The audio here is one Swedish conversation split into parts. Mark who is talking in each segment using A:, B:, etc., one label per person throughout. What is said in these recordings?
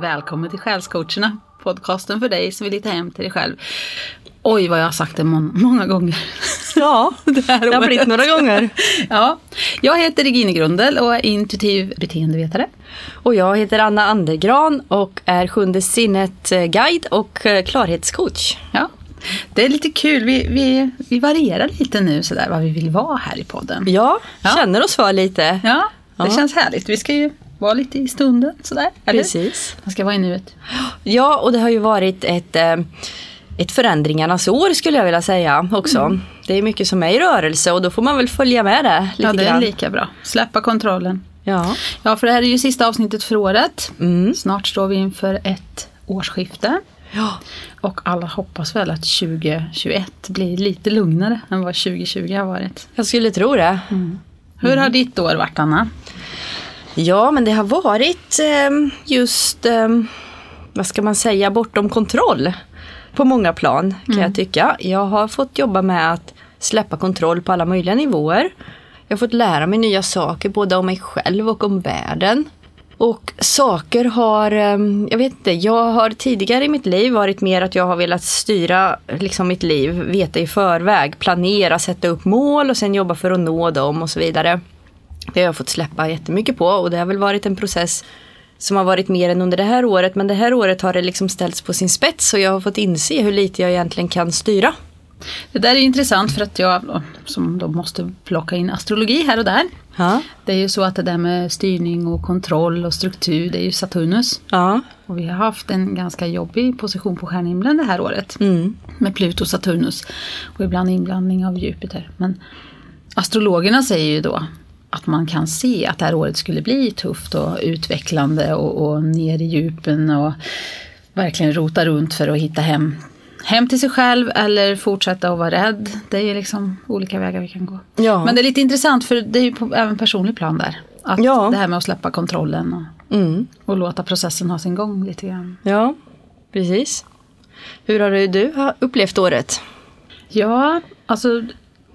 A: välkommen till Själscoacherna, podcasten för dig som vill hitta hem till dig själv. Oj, vad jag har sagt det må- många gånger.
B: Ja,
A: Det, här
B: det har
A: året.
B: blivit några gånger.
A: Ja, jag heter Regine Grundel och är intuitiv beteendevetare.
B: Och jag heter Anna Andergran och är Sjunde sinnet-guide och eh, klarhetscoach.
A: Ja, det är lite kul. Vi, vi, vi varierar lite nu sådär vad vi vill vara här i podden.
B: Ja,
A: Ja.
B: känner oss för lite.
A: Ja, det
B: Ja.
A: känns härligt. Vi ska ju vara lite i stunden sådär. Eller?
B: Precis.
A: Man ska vara i nuet.
B: Ja, och det har ju varit ett, eh, ett förändringarnas år skulle jag vilja säga också.
A: Mm.
B: Det är mycket som är i rörelse och då får man väl följa med det lite
A: ja, det är
B: grann.
A: lika bra. Släppa kontrollen.
B: ja.
A: Ja, för det här är ju sista avsnittet för året.
B: Mm.
A: Snart står vi inför ett årsskifte.
B: ja.
A: Och alla hoppas väl att 2021 blir lite lugnare än vad 2020 har varit.
B: Jag skulle tro det.
A: Hur har ditt år varit, Anna?
B: Ja, men det har varit eh, just, eh, vad ska man säga, bortom kontroll. På många plan kan jag tycka. Jag har fått jobba med att släppa kontroll på alla möjliga nivåer. Jag har fått lära mig nya saker, både om mig själv och om världen. Och saker har, eh, jag vet inte, jag har tidigare i mitt liv varit mer att jag har velat styra liksom mitt liv, veta i förväg, planera, sätta upp mål och sen jobba för att nå dem och så vidare. Det har jag fått släppa jättemycket på och det har väl varit en process som har varit mer än under det här året. Men det här året har det liksom ställts på sin spets och jag har fått inse hur lite jag egentligen kan styra.
A: Det där är ju intressant för att jag, då, som då måste plocka in astrologi här och där.
B: Ja.
A: Det är ju så att det där med styrning och kontroll och struktur, det är ju Saturnus.
B: Ja.
A: Och vi har haft en ganska jobbig position på stjärnhimlen det här året.
B: Mm.
A: med Pluto och Saturnus och ibland inblandning av Jupiter. Men astrologerna säger ju då att man kan se att det här året skulle bli tufft och utvecklande och, och ner i djupen och verkligen rota runt för att hitta hem, hem till sig själv eller fortsätta att vara rädd. Det är ju liksom olika vägar vi kan gå.
B: Ja.
A: Men det är lite intressant för det är ju på, även personlig plan där. Att
B: Ja.
A: Det här med att släppa kontrollen och,
B: Mm.
A: och låta processen ha sin gång lite grann.
B: ja, precis. Hur har du, du har upplevt året?
A: Ja, alltså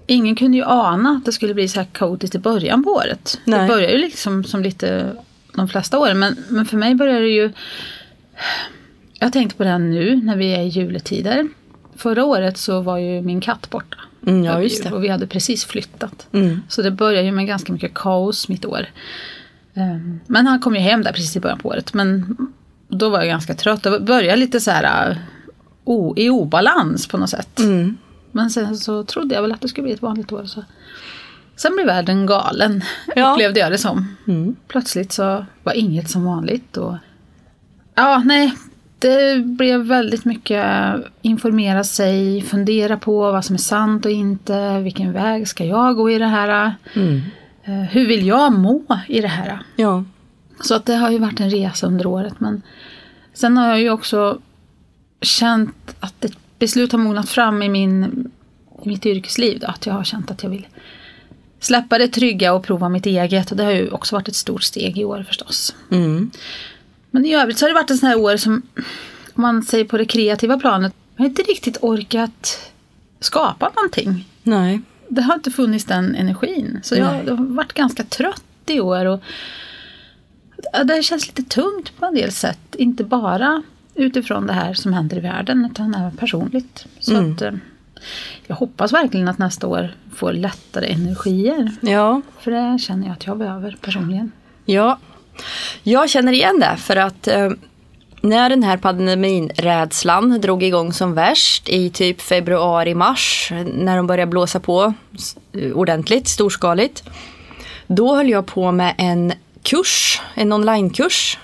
A: ingen kunde ju ana att det skulle bli så här kaotiskt i början på året. Det
B: Nej.
A: börjar ju liksom som lite de flesta åren, men, men för mig börjar det ju... Jag tänkte på det här nu när vi är i juletider. Förra året så var ju min katt borta.
B: Mm, ja, just det.
A: Och vi hade precis flyttat.
B: Mm.
A: Så det började ju med ganska mycket kaos mitt år. Ehm, Men han kom ju hem där precis i början på året. Men då var jag ganska trött. Det började lite så här äh, o, i obalans på något sätt.
B: Mm.
A: Men sen så trodde jag väl att det skulle bli ett vanligt år. Så. Sen blev världen galen,
B: Ja.
A: upplevde jag det som.
B: Mm.
A: Plötsligt så var inget som vanligt. Och... Ja, nej. Det blev väldigt mycket informera sig, fundera på vad som är sant och inte. Vilken väg ska jag gå i det här?
B: Mm.
A: Eh, Hur vill jag må i det här?
B: Ja.
A: Så att det har ju varit en resa under året. Men sen har jag ju också känt att ett beslut har mognat fram i, min, i mitt yrkesliv. Då, att jag har känt att jag vill släppa det trygga och prova mitt eget. Och det har ju också varit ett stort steg i år förstås.
B: Mm.
A: Men i övrigt så har det varit en sån här år som, om man säger på det kreativa planet, jag har inte riktigt orkat skapa någonting
B: Nej.
A: det har inte funnits den energin. Så jag
B: Nej.
A: har varit ganska trött i år. Och Ja, det känns lite tungt på en del sätt. Inte bara utifrån det här som händer i världen utan även personligt. Så att, eh, jag hoppas verkligen att nästa år får lättare energier.
B: Ja.
A: För det känner jag att jag behöver personligen.
B: Ja, jag känner igen det för att eh, när den här pandeminrädslan drog igång som värst i typ februari-mars när de började blåsa på s- eh, ordentligt, storskaligt. Då höll jag på med en kurs, en onlinekurs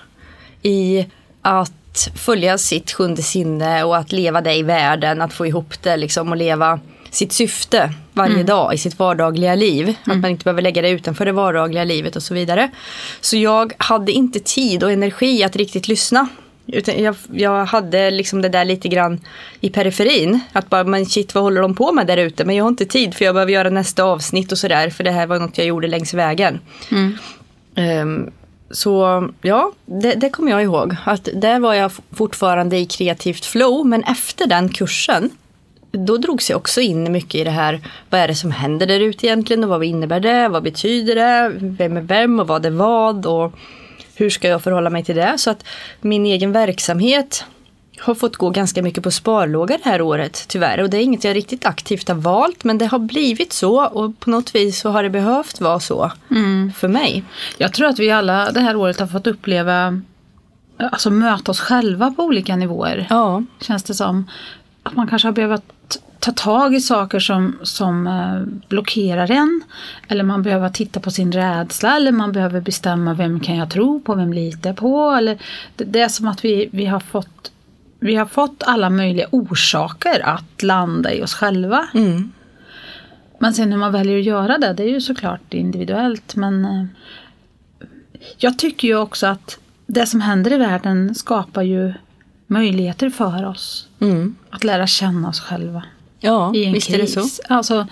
B: i att följa sitt sjunde sinne och att leva det i världen, att få ihop det liksom och leva sitt syfte varje dag i sitt vardagliga liv. Att man inte behöver lägga det utanför det vardagliga livet och så vidare. Så jag hade inte tid och energi att riktigt lyssna. Utan jag, jag hade liksom det där lite grann i periferin. Att bara, men shit vad håller de på med där ute? Men jag har inte tid för jag behöver göra nästa avsnitt och sådär. För det här var något jag gjorde längs vägen. Ehm, så ja, det, det kommer jag ihåg. Att där var jag f- fortfarande i kreativt flow. Men efter den kursen, då drogs jag också in mycket i det här. Vad är det som händer där ute egentligen och vad innebär det? Vad betyder det? Vem är vem och vad är vad? Och hur ska jag förhålla mig till det? Så att min egen verksamhet har fått gå ganska mycket på sparlåga det här året tyvärr och det är inget jag riktigt aktivt har valt men det har blivit så och på något vis så har det behövt vara så för mig.
A: Jag tror att vi alla det här året har fått uppleva, alltså möta oss själva på olika nivåer.
B: Ja,
A: Känns det som. Att man kanske har behövt ta tag i saker som, som eh, blockerar en. Eller man behöver titta på sin rädsla eller man behöver bestämma vem kan jag tro på, vem litar jag på. Eller det, det är som att vi, vi har fått vi har fått alla möjliga orsaker att landa i oss själva.
B: mm.
A: Men sen hur man väljer att göra det, det är ju såklart individuellt. Men eh, jag tycker ju också att det som händer i världen skapar ju möjligheter för oss.
B: Mm.
A: Att lära känna oss själva
B: ja
A: i en
B: visst
A: kris.
B: är det så.
A: Alltså,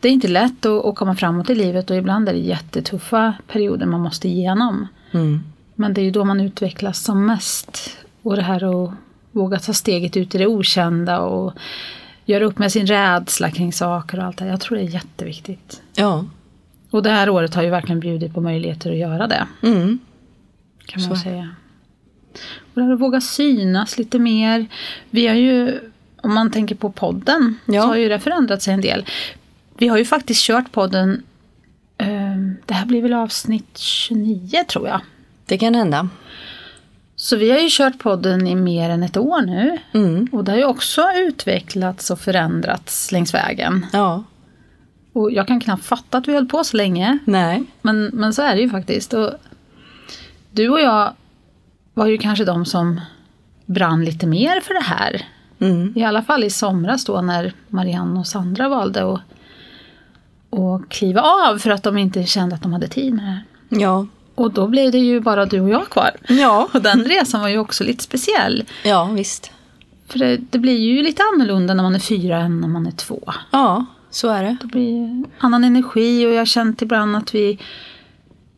A: det är inte lätt att, att komma framåt i livet och ibland är det jättetuffa perioder man måste igenom.
B: Mm.
A: Men det är ju då man utvecklas som mest. Och det här att våga ta steget ut i det okända och göra upp med sin rädsla kring saker och allt det här. Jag tror det är jätteviktigt.
B: Ja,
A: Och det här året har ju verkligen bjudit på möjligheter att göra det.
B: mm.
A: Kan man säga. Och det här att våga synas lite mer. Vi har ju, om man tänker på podden,
B: Ja.
A: så har ju det förändrat sig en del. Vi har ju faktiskt kört podden, ehm, det här blir väl avsnitt 29 tror jag.
B: det kan hända.
A: Så vi har ju kört podden i mer än ett år nu.
B: Mm.
A: Och det har ju också utvecklats och förändrats längs vägen.
B: Ja,
A: Och jag kan knappt fatta att vi höll på så länge.
B: nej.
A: Men, men så är det ju faktiskt. Och du och jag var ju kanske de som brann lite mer för det här.
B: Mm.
A: I alla fall i somras då när Marianne och Sandra valde att, att kliva av för att de inte kände att de hade tid med det här.
B: Ja,
A: Och då blev det ju bara du och jag kvar.
B: ja.
A: Och den resan var ju också lite speciell.
B: ja visst.
A: För det, det blir ju lite annorlunda när man är fyra än när man är två.
B: Ja, så är det.
A: Det blir annan energi och jag har känt ibland att vi,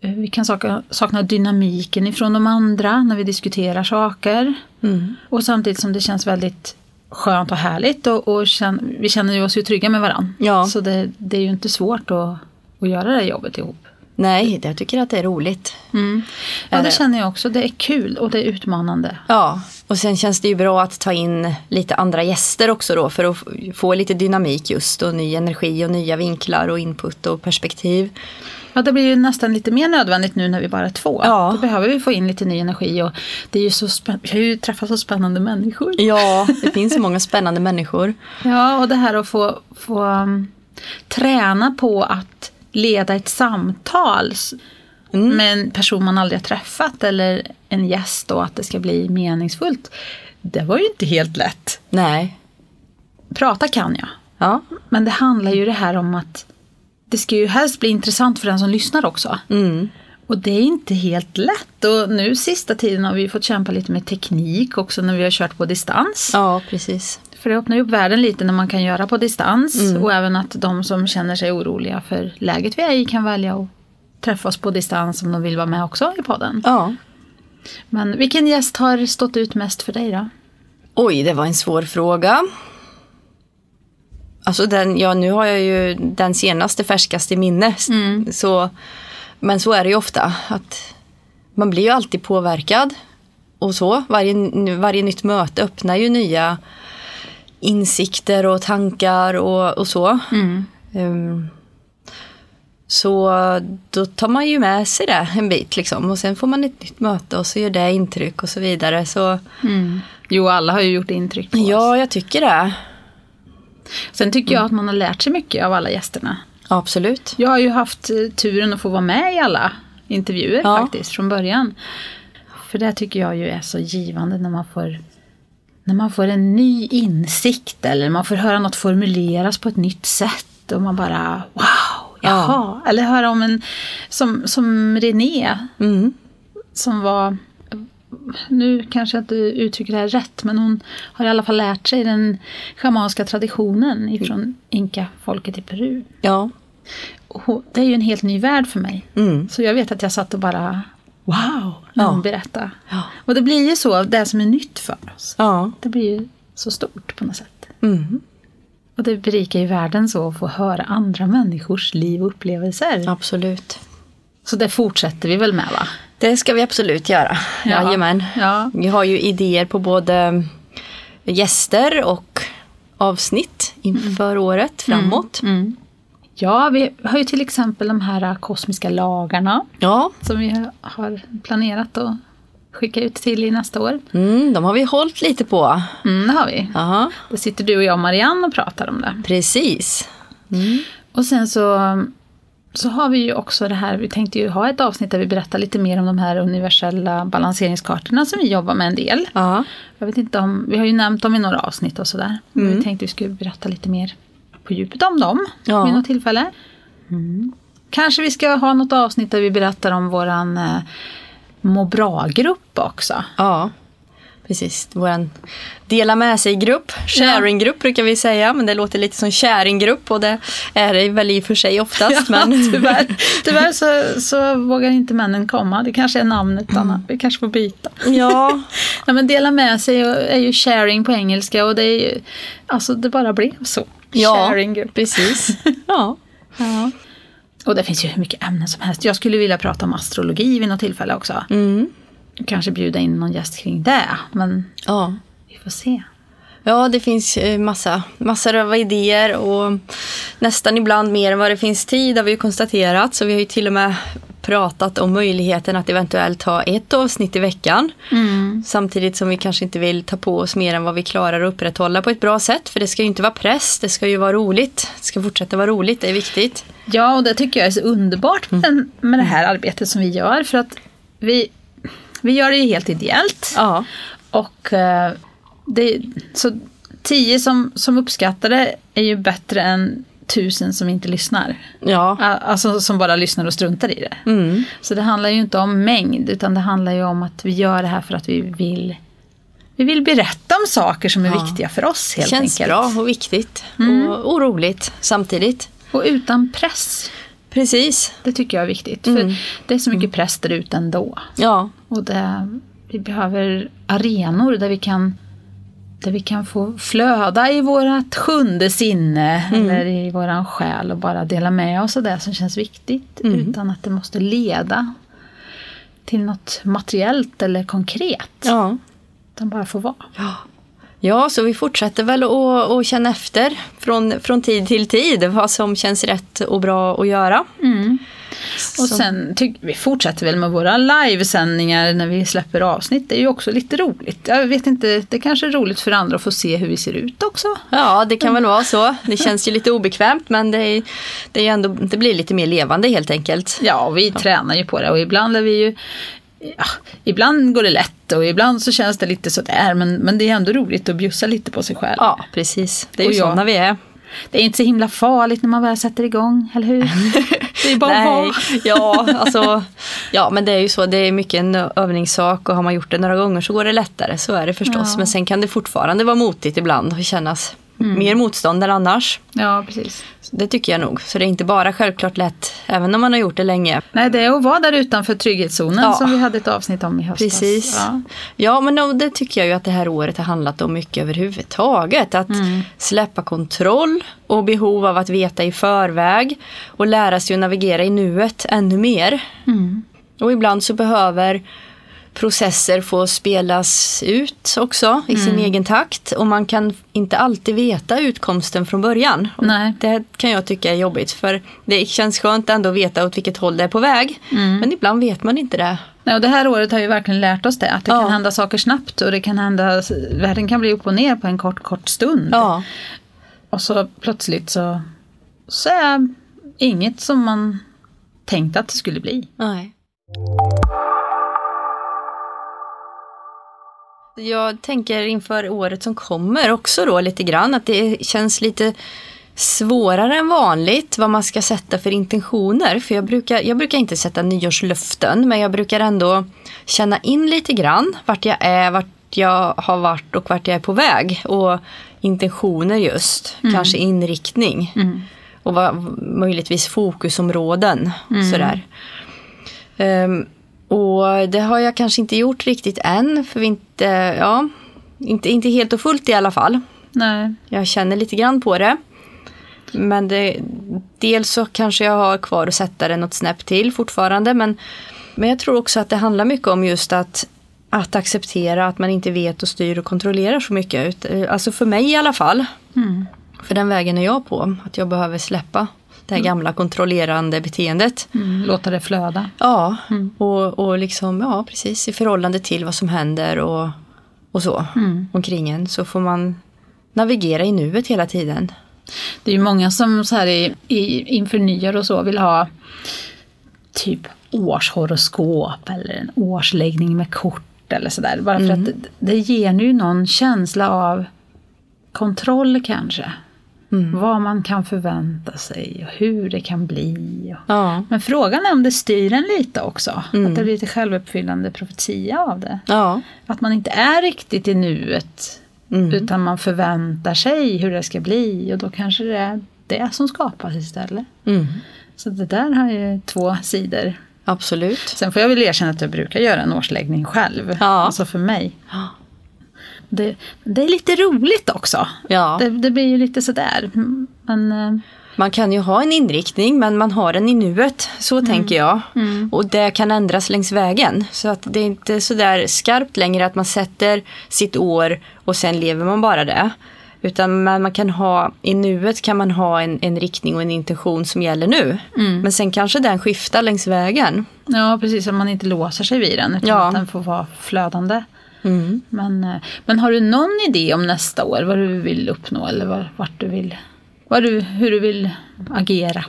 A: eh, vi kan sakna, sakna dynamiken ifrån de andra när vi diskuterar saker.
B: Mm.
A: Och samtidigt som det känns väldigt skönt och härligt och, och känn, vi känner ju oss ju trygga med varandra.
B: Ja.
A: Så det, det är ju inte svårt att, att göra det här jobbet ihop.
B: Nej, jag tycker att det är roligt.
A: Ja,
B: Är
A: det
B: Mm. det?
A: känner jag också. Det är kul och det är utmanande.
B: Ja, och sen känns det ju bra att ta in lite andra gäster också då för att f- få lite dynamik just och ny energi och nya vinklar och input och perspektiv.
A: Ja, det blir ju nästan lite mer nödvändigt nu när vi bara är två.
B: Ja.
A: Då behöver vi få in lite ny energi och det är ju så spä- vi har ju träffat så spännande människor.
B: Ja, det finns så många spännande människor.
A: Ja, och det här att få, få um, träna på att leda ett samtal s- med en person man aldrig har träffat eller en gäst och att det ska bli meningsfullt. Det var ju inte helt lätt.
B: Nej,
A: Prata kan jag,
B: ja,
A: men det handlar ju det här om att det ska ju helst bli intressant för den som lyssnar också.
B: mm.
A: Och det är inte helt lätt. Och nu sista tiden har vi fått kämpa lite med teknik också när vi har kört på distans.
B: ja precis.
A: För det öppnar ju upp världen lite när man kan göra på distans
B: Mm.
A: och även att de som känner sig oroliga för läget vi är i kan välja att träffa oss på distans om de vill vara med också i podden.
B: Ja.
A: Men vilken gäst har stått ut mest för dig då?
B: Oj, det var en svår fråga. Alltså den, ja nu har jag ju den senaste färskaste i minne. Så, men så är det ju ofta. Att man blir ju alltid påverkad. Och så, varje, varje nytt möte öppnar ju nya insikter och tankar och, och så. Ehm, så då tar man ju med sig det en bit liksom. Och sen får man ett nytt möte och så gör det intryck och så vidare. Så,
A: Jo, alla har ju gjort intryck på oss.
B: Mm. Ja, Mm. jag tycker det.
A: Sen tycker jag att man har lärt sig mycket av alla gästerna.
B: Absolut.
A: Jag har ju haft eh, turen att få vara med i alla intervjuer
B: Ja.
A: faktiskt från början. För det tycker jag ju är så givande när man får när man får en ny insikt eller man får höra något formuleras på ett nytt sätt och man bara wow, jaha. Eller höra om en som, som René
B: Mm.
A: som var nu kanske jag inte uttrycker det här rätt, men hon har i alla fall lärt sig den schamanska traditionen ifrån inka-folket i Peru.
B: Ja.
A: Och det är ju en helt ny värld för mig.
B: Mm.
A: Så jag vet att jag satt och bara wow Mm. när
B: Ja.
A: hon berättade.
B: Ja.
A: Och det blir ju så, det som är nytt för oss.
B: Ja.
A: Det blir ju så stort på något sätt.
B: Mm.
A: Och det berikar ju världen så att få höra andra människors liv och upplevelser.
B: Absolut.
A: Så det fortsätter vi väl med va?
B: Det ska vi absolut göra.
A: Ja.
B: Jajamän.
A: Ja.
B: Vi har ju idéer på både mm, gäster och avsnitt inför
A: Mm.
B: året framåt.
A: Ja, vi har ju till exempel de här kosmiska lagarna
B: Ja,
A: som vi har planerat att skicka ut till i nästa år.
B: mm, de har vi hållit lite på.
A: Mm, det har vi.
B: Aha,
A: Då sitter du och jag och Marianne och pratar om det.
B: precis.
A: Mm. Och sen så, så har vi ju också det här, vi tänkte ju ha ett avsnitt där vi berättar lite mer om de här universella balanseringskartorna som vi jobbar med en del.
B: Ja.
A: Jag vet inte om, vi har ju nämnt dem i några avsnitt och sådär. Men Vi tänkte vi skulle berätta lite mer på djupet om dem
B: Mm. Ja. Mm.
A: vid något tillfälle. Kanske vi ska ha något avsnitt där vi berättar om våran eh, må bra-grupp också.
B: ja, precis. Vår dela med sig-grupp, sharing-grupp brukar vi säga, men det låter lite som käringgrupp och det är det väl i och för sig oftast. men
A: Tyvärr, tyvärr så, så vågar inte männen komma. Det kanske är namnet
B: Mm.
A: Anna. Vi kanske får byta.
B: Ja,
A: Nej, men dela med sig och- är ju sharing på engelska och det är ju, alltså det bara blev så.
B: Ja.
A: Sharing-grupp.
B: precis. Ja.
A: Ja. Och det finns ju hur mycket ämnen som helst. Jag skulle vilja prata om astrologi vid något tillfälle också.
B: Mm.
A: Kanske bjuda in någon gäst kring det, men
B: ja.
A: vi får se.
B: Ja, det finns eh, massa, massor av idéer och nästan ibland mer än vad det finns tid har vi ju konstaterat. Så vi har ju till och med pratat om möjligheten att eventuellt ha ett avsnitt i veckan. Mm. Samtidigt som vi kanske inte vill ta på oss mer än vad vi klarar att upprätthålla på ett bra sätt. För det ska ju inte vara press, det ska ju vara roligt. Det ska fortsätta vara roligt, det är viktigt.
A: Ja, och det tycker jag är så underbart med,
B: Mm.
A: den, med det här arbetet som vi gör. För att vi, vi gör det ju helt ideellt.
B: Ja,
A: Och eh, det, så tio som, som uppskattar det är ju bättre än tusen som inte lyssnar.
B: ja,
A: A- Alltså som bara lyssnar och struntar i
B: Mm.
A: det. Så det handlar ju inte om mängd utan det handlar ju om att vi gör det här för att vi vill vi vill berätta om saker som är
B: Ja.
A: viktiga för oss
B: det
A: helt
B: känns
A: enkelt.
B: bra och viktigt och, och roligt samtidigt.
A: Och utan press.
B: Precis,
A: Det tycker jag är viktigt.
B: Mm.
A: För det är så mycket press där ute ändå.
B: ja,
A: Och det, vi behöver arenor där vi kan där vi kan få flöda i vårt sjunde sinne
B: Mm.
A: eller i våran själ och bara dela med oss av det som känns viktigt
B: Mm.
A: utan att det måste leda till något materiellt eller konkret.
B: ja.
A: Utan bara få vara.
B: Ja. Ja, så vi fortsätter väl att, att känna efter från, från tid till tid vad som känns rätt och bra att göra.
A: Och
B: Så-
A: sen tyck, vi fortsätter väl med våra livesändningar när vi släpper avsnitt. Det är ju också lite roligt. Jag vet inte, det kanske är roligt för andra att få se hur vi ser ut också.
B: Ja, det kan väl vara så. Det känns ju lite obekvämt men det, är, det, är ju ändå, det blir lite mer levande helt enkelt.
A: Ja, och vi tränar ju på det och ibland är vi ju Ja, ibland går det lätt och ibland så känns det lite sådär men, men det är ändå roligt att bjussa lite på sig själv.
B: Ja, precis. Det är ju
A: Och jag-
B: sådana vi är.
A: Det är inte så himla farligt när man väl sätter igång, eller hur? Det är bara att
B: Nej,
A: vara.
B: ja, alltså, ja, men det är ju så. Det är mycket en övningssak och har man gjort det några gånger så går det lättare. Så är det förstås.
A: Ja.
B: Men sen kan det fortfarande vara motigt ibland och kännas
A: Mm.
B: mer motstånd än annars.
A: Ja, precis.
B: Det tycker jag nog. Så det är inte bara självklart lätt, även om man har gjort det länge.
A: Nej, det är att vara där utanför trygghetszonen
B: Ja.
A: som vi hade ett avsnitt om i höstas.
B: Precis.
A: Ja.
B: Ja, men och det tycker jag ju att det här året har handlat om mycket överhuvudtaget. Att släppa kontroll och behov av att veta i förväg och lära sig att navigera i nuet ännu mer. Och ibland så behöver processer få spelas ut också i sin egen takt och man kan inte alltid veta utkomsten från början. Och
A: Nej.
B: Det kan jag tycka är jobbigt för det känns skönt ändå att veta åt vilket håll det är på väg. Men ibland vet man inte det.
A: Nej, och det här året har ju verkligen lärt oss det, att det
B: Ja.
A: kan hända saker snabbt och det kan hända, världen kan bli upp och ner på en kort, kort stund.
B: Ja,
A: Och så plötsligt så, så är inget som man tänkte att det skulle bli.
B: nej. Jag tänker inför året som kommer också då lite grann att det känns lite svårare än vanligt vad man ska sätta för intentioner. För jag brukar, jag brukar inte sätta nyårslöften men jag brukar ändå känna in lite grann vart jag är, vart jag har varit och vart jag är på väg. Och intentioner just, kanske inriktning. Och vad, möjligtvis fokusområden. Sådär. Ehm, och det har jag kanske inte gjort riktigt än, för vi inte, ja, inte, inte helt och fullt i alla fall.
A: Nej.
B: Jag känner lite grann på det. Men det, dels så kanske jag har kvar att sätta det något snäpp till fortfarande, men Men jag tror också att det handlar mycket om just att att acceptera att man inte vet och styr och kontrollerar så mycket. Alltså för mig i alla fall.
A: Mm.
B: För den vägen är jag på. Att jag behöver släppa det här gamla kontrollerande beteendet.
A: Mm. Låta det flöda.
B: Ja, och, och liksom, ja precis i förhållande till vad som händer och, och så
A: Mm.
B: omkring en. Så får man navigera i nuet hela tiden.
A: Det är ju många som så här i, i, inför nyår och så vill ha typ årshoroskop eller en årsläggning med kort eller sådär. Bara för att det, det ger nu någon känsla av kontroll kanske. Vad man kan förvänta sig och hur det kan bli. och-
B: Ja,
A: Men frågan är om det styr en lite också.
B: Mm.
A: Att det blir lite självuppfyllande profetia av det.
B: ja.
A: Att man inte är riktigt i nuet.
B: Mm.
A: Utan man förväntar sig hur det ska bli och då kanske det är det som skapas istället.
B: Mm.
A: Så det där har ju två sidor.
B: absolut.
A: Sen får jag väl erkänna att jag brukar göra en årsläggning själv.
B: Ja.
A: Alltså för mig. Det, det är lite roligt också.
B: Ja.
A: Det, det blir ju lite sådär. Mm, Men eh,
B: Man kan ju ha en inriktning men man har den i nuet, så tänker jag. Och det kan ändras längs vägen. Så att det är inte så där skarpt längre att man sätter sitt år och sen lever man bara det. Utan man, man kan ha, i nuet kan man ha en, en riktning och en intention som gäller nu. Men sen kanske den skiftar längs vägen.
A: ja, precis. Om man inte låser sig vid den. Utan
B: Ja.
A: att den får vara flödande. Men, eh, men har du någon idé om nästa år? Vad du vill uppnå eller var, vart du vill, vad du, hur du vill agera?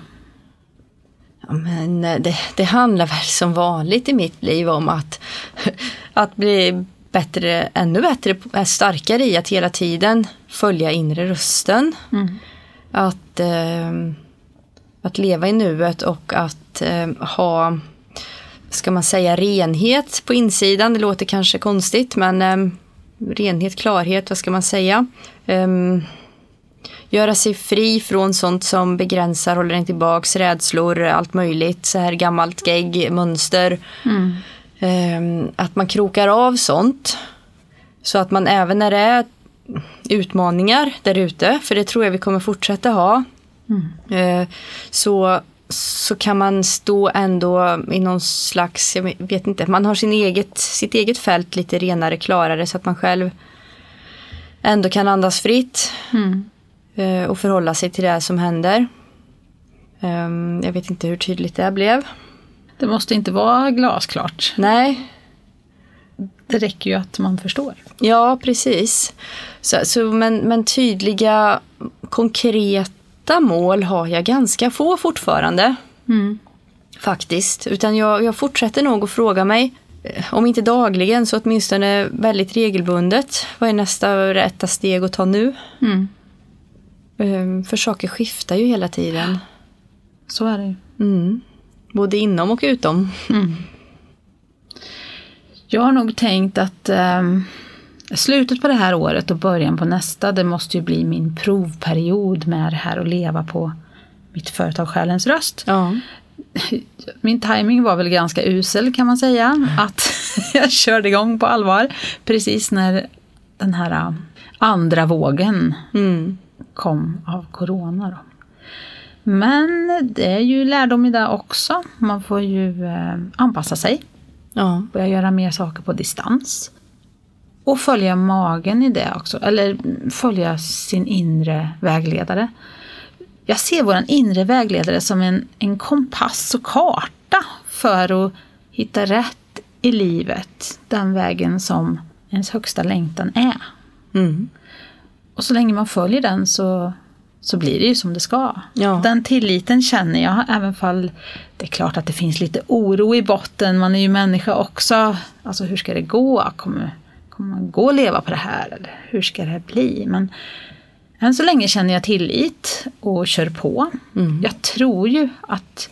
B: Ja, men eh, det, det handlar väl som vanligt i mitt liv om att, att bli bättre, ännu bättre, på- starkare i att hela tiden följa inre rösten. Att, eh, att leva i nuet och att eh, ha, ska man säga renhet på insidan, det låter kanske konstigt men eh, renhet, klarhet, vad ska man säga? Ehm, göra sig fri från sånt som begränsar, håller en tillbaks, rädslor, allt möjligt, så här gammalt gegg, mönster.
A: Mm.
B: Ehm, att man krokar av sånt. Så att man även när det är utmaningar där ute, för det tror jag vi kommer fortsätta ha, eh, så, så kan man stå ändå i någon slags, jag vet inte, man har sin eget, sitt eget fält lite renare, klarare så att man själv ändå kan andas fritt eh, och förhålla sig till det som händer. Ehm, Jag vet inte hur tydligt det blev.
A: Det måste inte vara glasklart.
B: Nej,
A: Det räcker ju att man förstår.
B: Ja, precis. Så, så, men, men tydliga, konkreta mål har jag ganska få fortfarande. Faktiskt. Utan jag, jag fortsätter nog att fråga mig, eh, om inte dagligen så åtminstone väldigt regelbundet, vad är nästa rätta steg att ta nu? Ehm, För saker skiftar ju hela tiden.
A: Så är det ju.
B: Mm. Både inom och utom.
A: Jag har nog tänkt att ehm, slutet på det här året och början på nästa, det måste ju bli min provperiod med det här och leva på mitt företag Själens Röst.
B: Ja.
A: Min timing var väl ganska usel kan man säga. Att jag körde igång på allvar precis när den här eh, andra vågen
B: Mm.
A: kom av corona. Då. Men det är ju lärdom i det också. Man får ju eh, anpassa sig,
B: Ja.
A: börja göra mer saker på distans. Och följa magen i det också, eller mm, följa sin inre vägledare. Jag ser vår inre vägledare som en, en kompass och karta för att hitta rätt i livet, den vägen som ens högsta längtan är.
B: Mm.
A: Och så länge man följer den så, så blir det ju som det ska.
B: Ja.
A: Den tilliten känner jag, även fall det är klart att det finns lite oro i botten. Man är ju människa också. Alltså hur ska det gå? Kommer, kommer man gå och leva på det här? Eller hur ska det här bli? Men än så länge känner jag tillit och kör på. Jag tror ju att,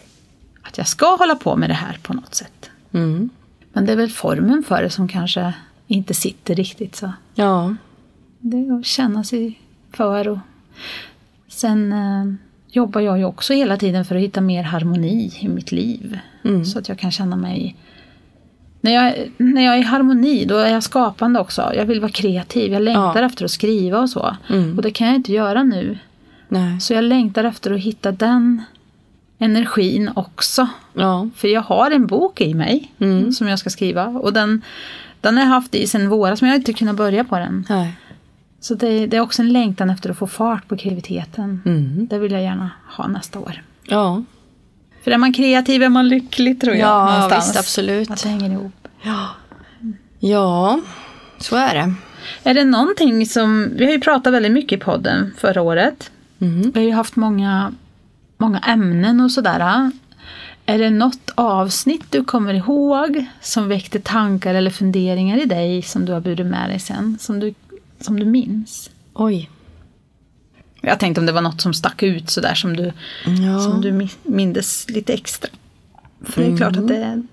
A: att jag ska hålla på med det här på något sätt.
B: Mm.
A: Men det är väl formen för det som kanske inte sitter riktigt så.
B: Ja.
A: Det är att känna sig för. Och sen eh, jobbar jag ju också hela tiden för att hitta mer harmoni i mitt liv. Så att jag kan känna mig... När jag, när jag är i harmoni, då är jag skapande också. Jag vill vara kreativ. Jag längtar efter att skriva och så. Och det kan jag inte göra nu.
B: Nej.
A: Så jag längtar efter att hitta den energin också.
B: Ja.
A: För jag har en bok i mig som jag ska skriva och den, den har jag haft i sedan våras men jag har inte kunnat börja på den.
B: Nej.
A: Så det, det är också en längtan efter att få fart på kreativiteten.
B: Mm.
A: Det vill jag gärna ha nästa år.
B: Ja.
A: För är man kreativ är man lycklig tror jag.
B: Ja,
A: någonstans.
B: visst, absolut.
A: Att det hänger ihop.
B: Ja. Ja, så är det.
A: Är det någonting som, vi har ju pratat väldigt mycket i podden förra året.
B: Mm.
A: Vi har ju haft många, många ämnen och sådär. Är det något avsnitt du kommer ihåg som väckte tankar eller funderingar i dig som du har burit med dig sen, som du, som du minns?
B: Oj.
A: Jag tänkte om det var något som stack ut sådär som du,
B: Ja.
A: som du mi- mindes lite extra. För det är klart att det,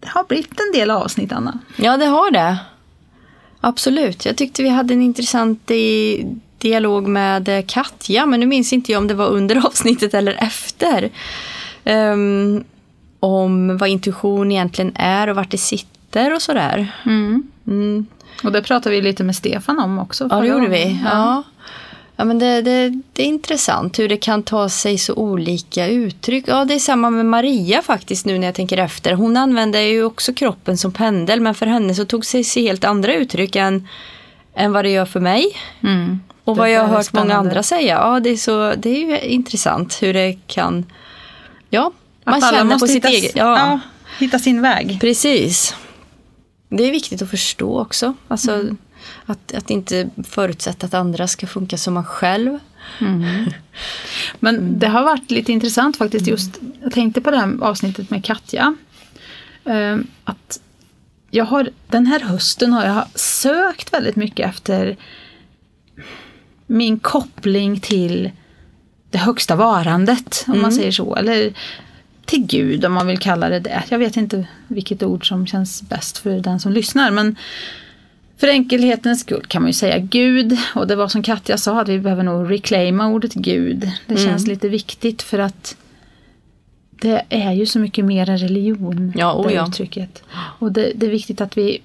A: det har blivit en del avsnitt, Anna.
B: Ja, det har det. Absolut. Jag tyckte vi hade en intressant i dialog med eh, Katja, men nu minns inte jag om det var under avsnittet eller efter. Ehm, om vad intuition egentligen är och vart det sitter och sådär. Mm.
A: Och det pratade vi lite med Stefan om också.
B: Ja,
A: förra
B: det gjorde
A: gången.
B: vi. Ja. Ja, men det, det, det är intressant hur det kan ta sig så olika uttryck. Ja, det är samma med Maria faktiskt nu när jag tänker efter. Hon använde ju också kroppen som pendel men för henne så tog sig sig helt andra uttryck än, än vad det gör för mig.
A: Mm.
B: Och
A: Det
B: vad
A: där
B: jag
A: är
B: har hört
A: spännande.
B: många andra säga. Ja, det är, så, det är ju intressant hur det kan... Ja, man
A: Att alla
B: känner
A: måste
B: på sitt
A: hitta,
B: eget.
A: Ja.
B: ja.
A: hitta sin väg.
B: Precis. Det är viktigt att förstå också. Alltså, att, att inte förutsätta att andra ska funka som man själv.
A: Men det har varit lite intressant faktiskt just, jag tänkte på det här avsnittet med Katja. Eh, Att jag har, den här hösten har jag sökt väldigt mycket efter min koppling till det högsta varandet, om
B: Mm.
A: man säger så. Eller till Gud, om man vill kalla det det. Jag vet inte vilket ord som känns bäst för den som lyssnar. Men för enkelhetens skull kan man ju säga Gud. Och det var som Katja sa, att vi behöver nog reclaima ordet Gud. Det
B: Mm.
A: känns lite viktigt för att det är ju så mycket mer än religion,
B: Ja, o
A: det
B: ja.
A: uttrycket. Och det, det är viktigt att vi,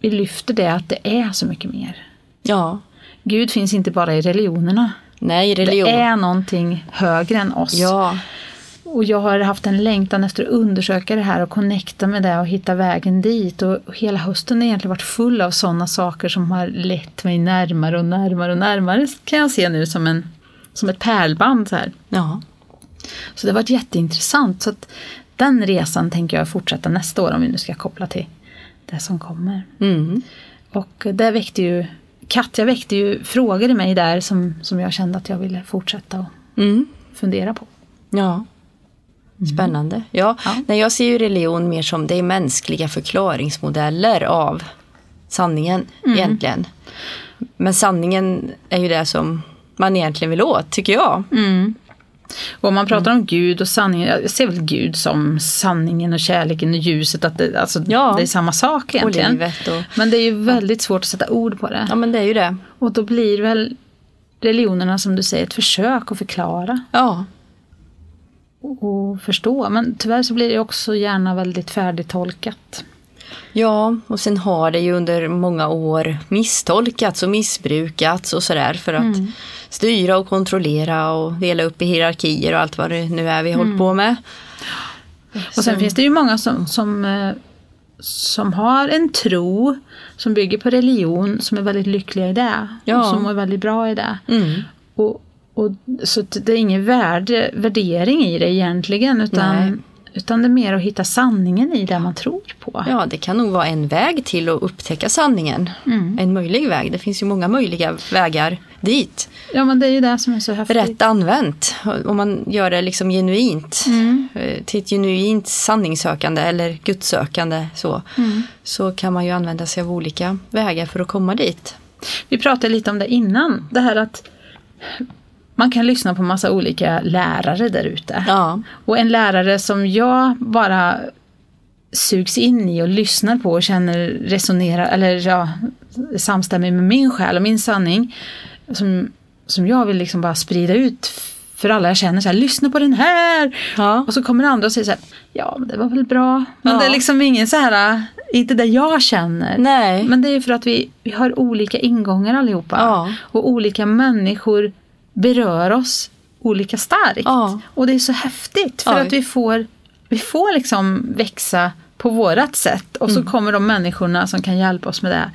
A: vi lyfter det, att det är så mycket mer.
B: Ja.
A: Gud finns inte bara i religionerna.
B: Nej, religion.
A: Det är någonting högre än oss.
B: Ja.
A: Och jag har haft en längtan efter att undersöka det här och connecta med det och hitta vägen dit. Och och hela hösten har egentligen varit full av sådana saker som har lett mig närmare och närmare och närmare kan jag se nu som, en, som ett pärlband. Så, här.
B: ja.
A: så det har varit jätteintressant. Så att den resan tänker jag fortsätta nästa år om vi nu ska koppla till det som kommer.
B: Mm.
A: Och det väckte ju Katja väckte ju frågor i mig där som, som jag kände att jag ville fortsätta att
B: Mm.
A: fundera på.
B: Ja. Spännande. Ja. Nej, jag ser ju religion mer som det är mänskliga förklaringsmodeller av sanningen egentligen. Men sanningen är ju det som man egentligen vill åt, tycker jag.
A: Och om man pratar om Gud och sanningen, jag ser väl Gud som sanningen och kärleken och ljuset, att det, alltså,
B: Ja.
A: det är samma sak egentligen.
B: livet och-
A: Men det är ju väldigt svårt att sätta ord på det.
B: Ja, men det är ju det.
A: Och då blir väl religionerna som du säger ett försök att förklara
B: Ja.
A: och förstå. Men tyvärr så blir det också gärna väldigt färdigtolkat.
B: Ja, och sen har det ju under många år misstolkats och missbrukats och sådär för att styra och kontrollera och dela upp i hierarkier och allt vad det nu är vi hållit på med.
A: Och sen finns det ju många som, som, eh, som har en tro som bygger på religion som är väldigt lyckliga i det.
B: Ja. Mm.
A: Och som mår väldigt bra i det. Och, och, så att det är ingen värde, värdering i det egentligen
B: Nej.
A: utan, utan det är mer att hitta sanningen i det man tror på.
B: Ja, det kan nog vara en väg till att upptäcka sanningen. En möjlig väg. Det finns ju många möjliga vägar dit.
A: Ja men det är ju det som är så häftigt.
B: Rätt använt, om man gör det liksom genuint, eh, till ett genuint sanningssökande eller gudssökande så, så kan man ju använda sig av olika vägar för att komma dit.
A: Vi pratade lite om det innan, det här att man kan lyssna på massa olika lärare där ute.
B: Ja.
A: Och en lärare som jag bara sugs in i och lyssnar på och känner resonerar, eller ja, samstämmer med min själ och min sanning. Som, som jag vill liksom bara sprida ut för alla jag känner så här, lyssna på den här!
B: Ja.
A: Och så kommer andra och säger så här, ja men det var väl bra. Men
B: Ja.
A: det är liksom ingen så här, äh, inte det jag känner.
B: Nej.
A: Men det är ju för att vi, vi har olika ingångar allihopa.
B: Ja.
A: Och olika människor berör oss olika starkt.
B: Ja.
A: Och det är så häftigt för
B: Oj.
A: att vi får, vi får liksom växa på vårat sätt och
B: Mm.
A: så kommer de människorna som kan hjälpa oss med det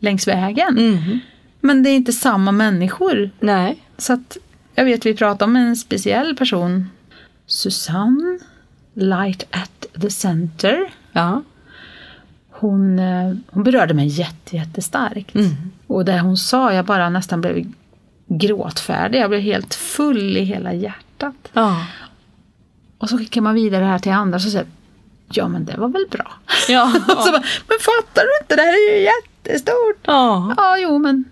A: längs vägen.
B: Mm.
A: Men det är inte samma människor.
B: Nej.
A: Så att, jag vet vi pratade om en speciell person. Susanne, Light at the Center.
B: Ja.
A: Hon, eh, hon berörde mig jätte, jättestarkt.
B: Mm.
A: Och det hon sa, jag bara nästan blev gråtfärdig. Jag blev helt full i hela hjärtat.
B: Ja.
A: Och så skickar man vidare det här till andra och så säger Ja men det var väl bra.
B: Ja.
A: Och så bara, men fattar du inte? Det här är ju jättestort.
B: ja.
A: Ja, jo men.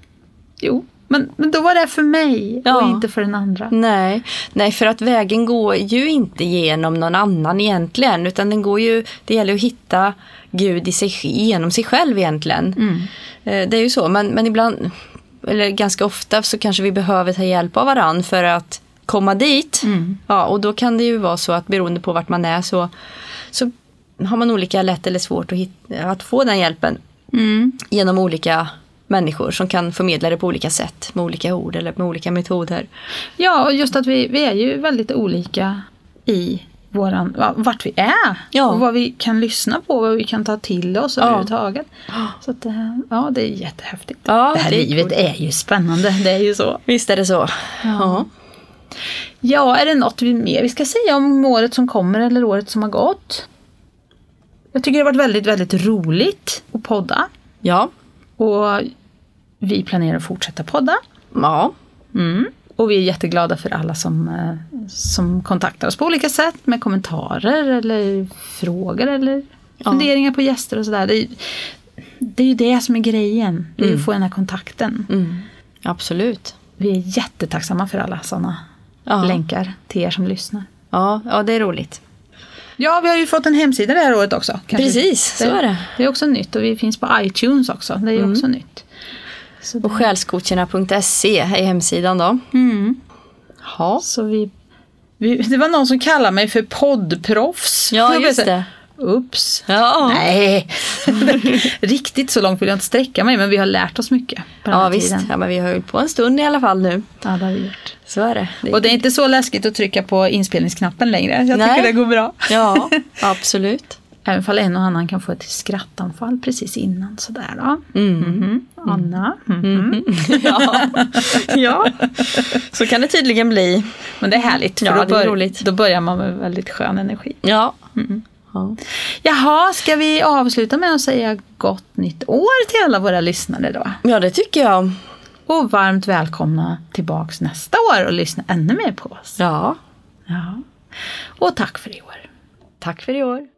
A: Jo, men, men då var det för mig och
B: Ja.
A: inte för den andra.
B: Nej. Nej, för att vägen går ju inte genom någon annan egentligen. Utan den går ju, det gäller att hitta Gud i sig, genom sig själv egentligen. Eh, Det är ju så, men, men ibland, eller ganska ofta så kanske vi behöver ta hjälp av varandra för att komma dit. Ja, och då kan det ju vara så att beroende på vart man är så, så har man olika lätt eller svårt att, hit- att få den hjälpen Mm. genom olika människor som kan förmedla det på olika sätt med olika ord eller med olika metoder.
A: Ja, och just att vi, vi är ju väldigt olika i våran, va- vart vi är
B: Ja.
A: och vad vi kan lyssna på, vad vi kan ta till oss överhuvudtaget. Så att, eh, ja, det är jättehäftigt.
B: Ja,
A: det här
B: det är
A: livet är ju spännande, det är ju så.
B: Visst är det så? Ja.
A: Ja, är det något vi mer vi ska säga om året som kommer eller året som har gått? Jag tycker det har varit väldigt, väldigt roligt att podda
B: Ja.
A: och vi planerar att fortsätta podda.
B: Ja.
A: Mm. Och vi är jätteglada för alla som, eh, som kontaktar oss på olika sätt med kommentarer eller frågor eller funderingar på gäster och sådär. Det, är ju- det är ju det som är grejen, det är ju att få den här kontakten.
B: Mm. Absolut.
A: Vi är jättetacksamma för alla sådana
B: Ja.
A: länkar till er som lyssnar.
B: Ja, ja, det är roligt.
A: Ja, vi har ju fått en hemsida det här året också. kanske.
B: Precis, så är det.
A: Det Mm. är också nytt och vi finns på iTunes också, det är ju också nytt. Så,
B: Och själscoacherna.se är hemsidan då.
A: mm.
B: Ja.
A: så vi, vi, det var någon som kallade mig för poddproffs. Jag
B: Ja,
A: blev
B: just
A: så här,
B: det.
A: Ups.
B: Ja.
A: Nej, riktigt så långt vill jag inte sträcka mig men vi har lärt oss mycket på den
B: Ja
A: här
B: visst,
A: tiden.
B: ja, men vi har hållit på en stund i alla fall nu.
A: Ja, det har vi gjort.
B: Så är det.
A: Och det är inte så läskigt att trycka på inspelningsknappen längre. Jag
B: Nej.
A: tycker det går bra.
B: Ja, absolut.
A: Även fall en och annan kan få ett skrattanfall precis innan sådär då. Mhm. Anna. Mhm.
B: Mm. Ja. ja, så kan det tydligen bli.
A: Men det är härligt för
B: Ja,
A: då,
B: det är
A: bör-
B: roligt.
A: då börjar man med väldigt skön energi.
B: Ja. Ja.
A: Jaha, ska vi avsluta med att säga gott nytt år till alla våra lyssnare då?
B: ja, det tycker jag.
A: Och varmt välkomna tillbaks nästa år och lyssna ännu mer på oss.
B: Ja,
A: Ja. Och tack för i år.
B: tack för i år.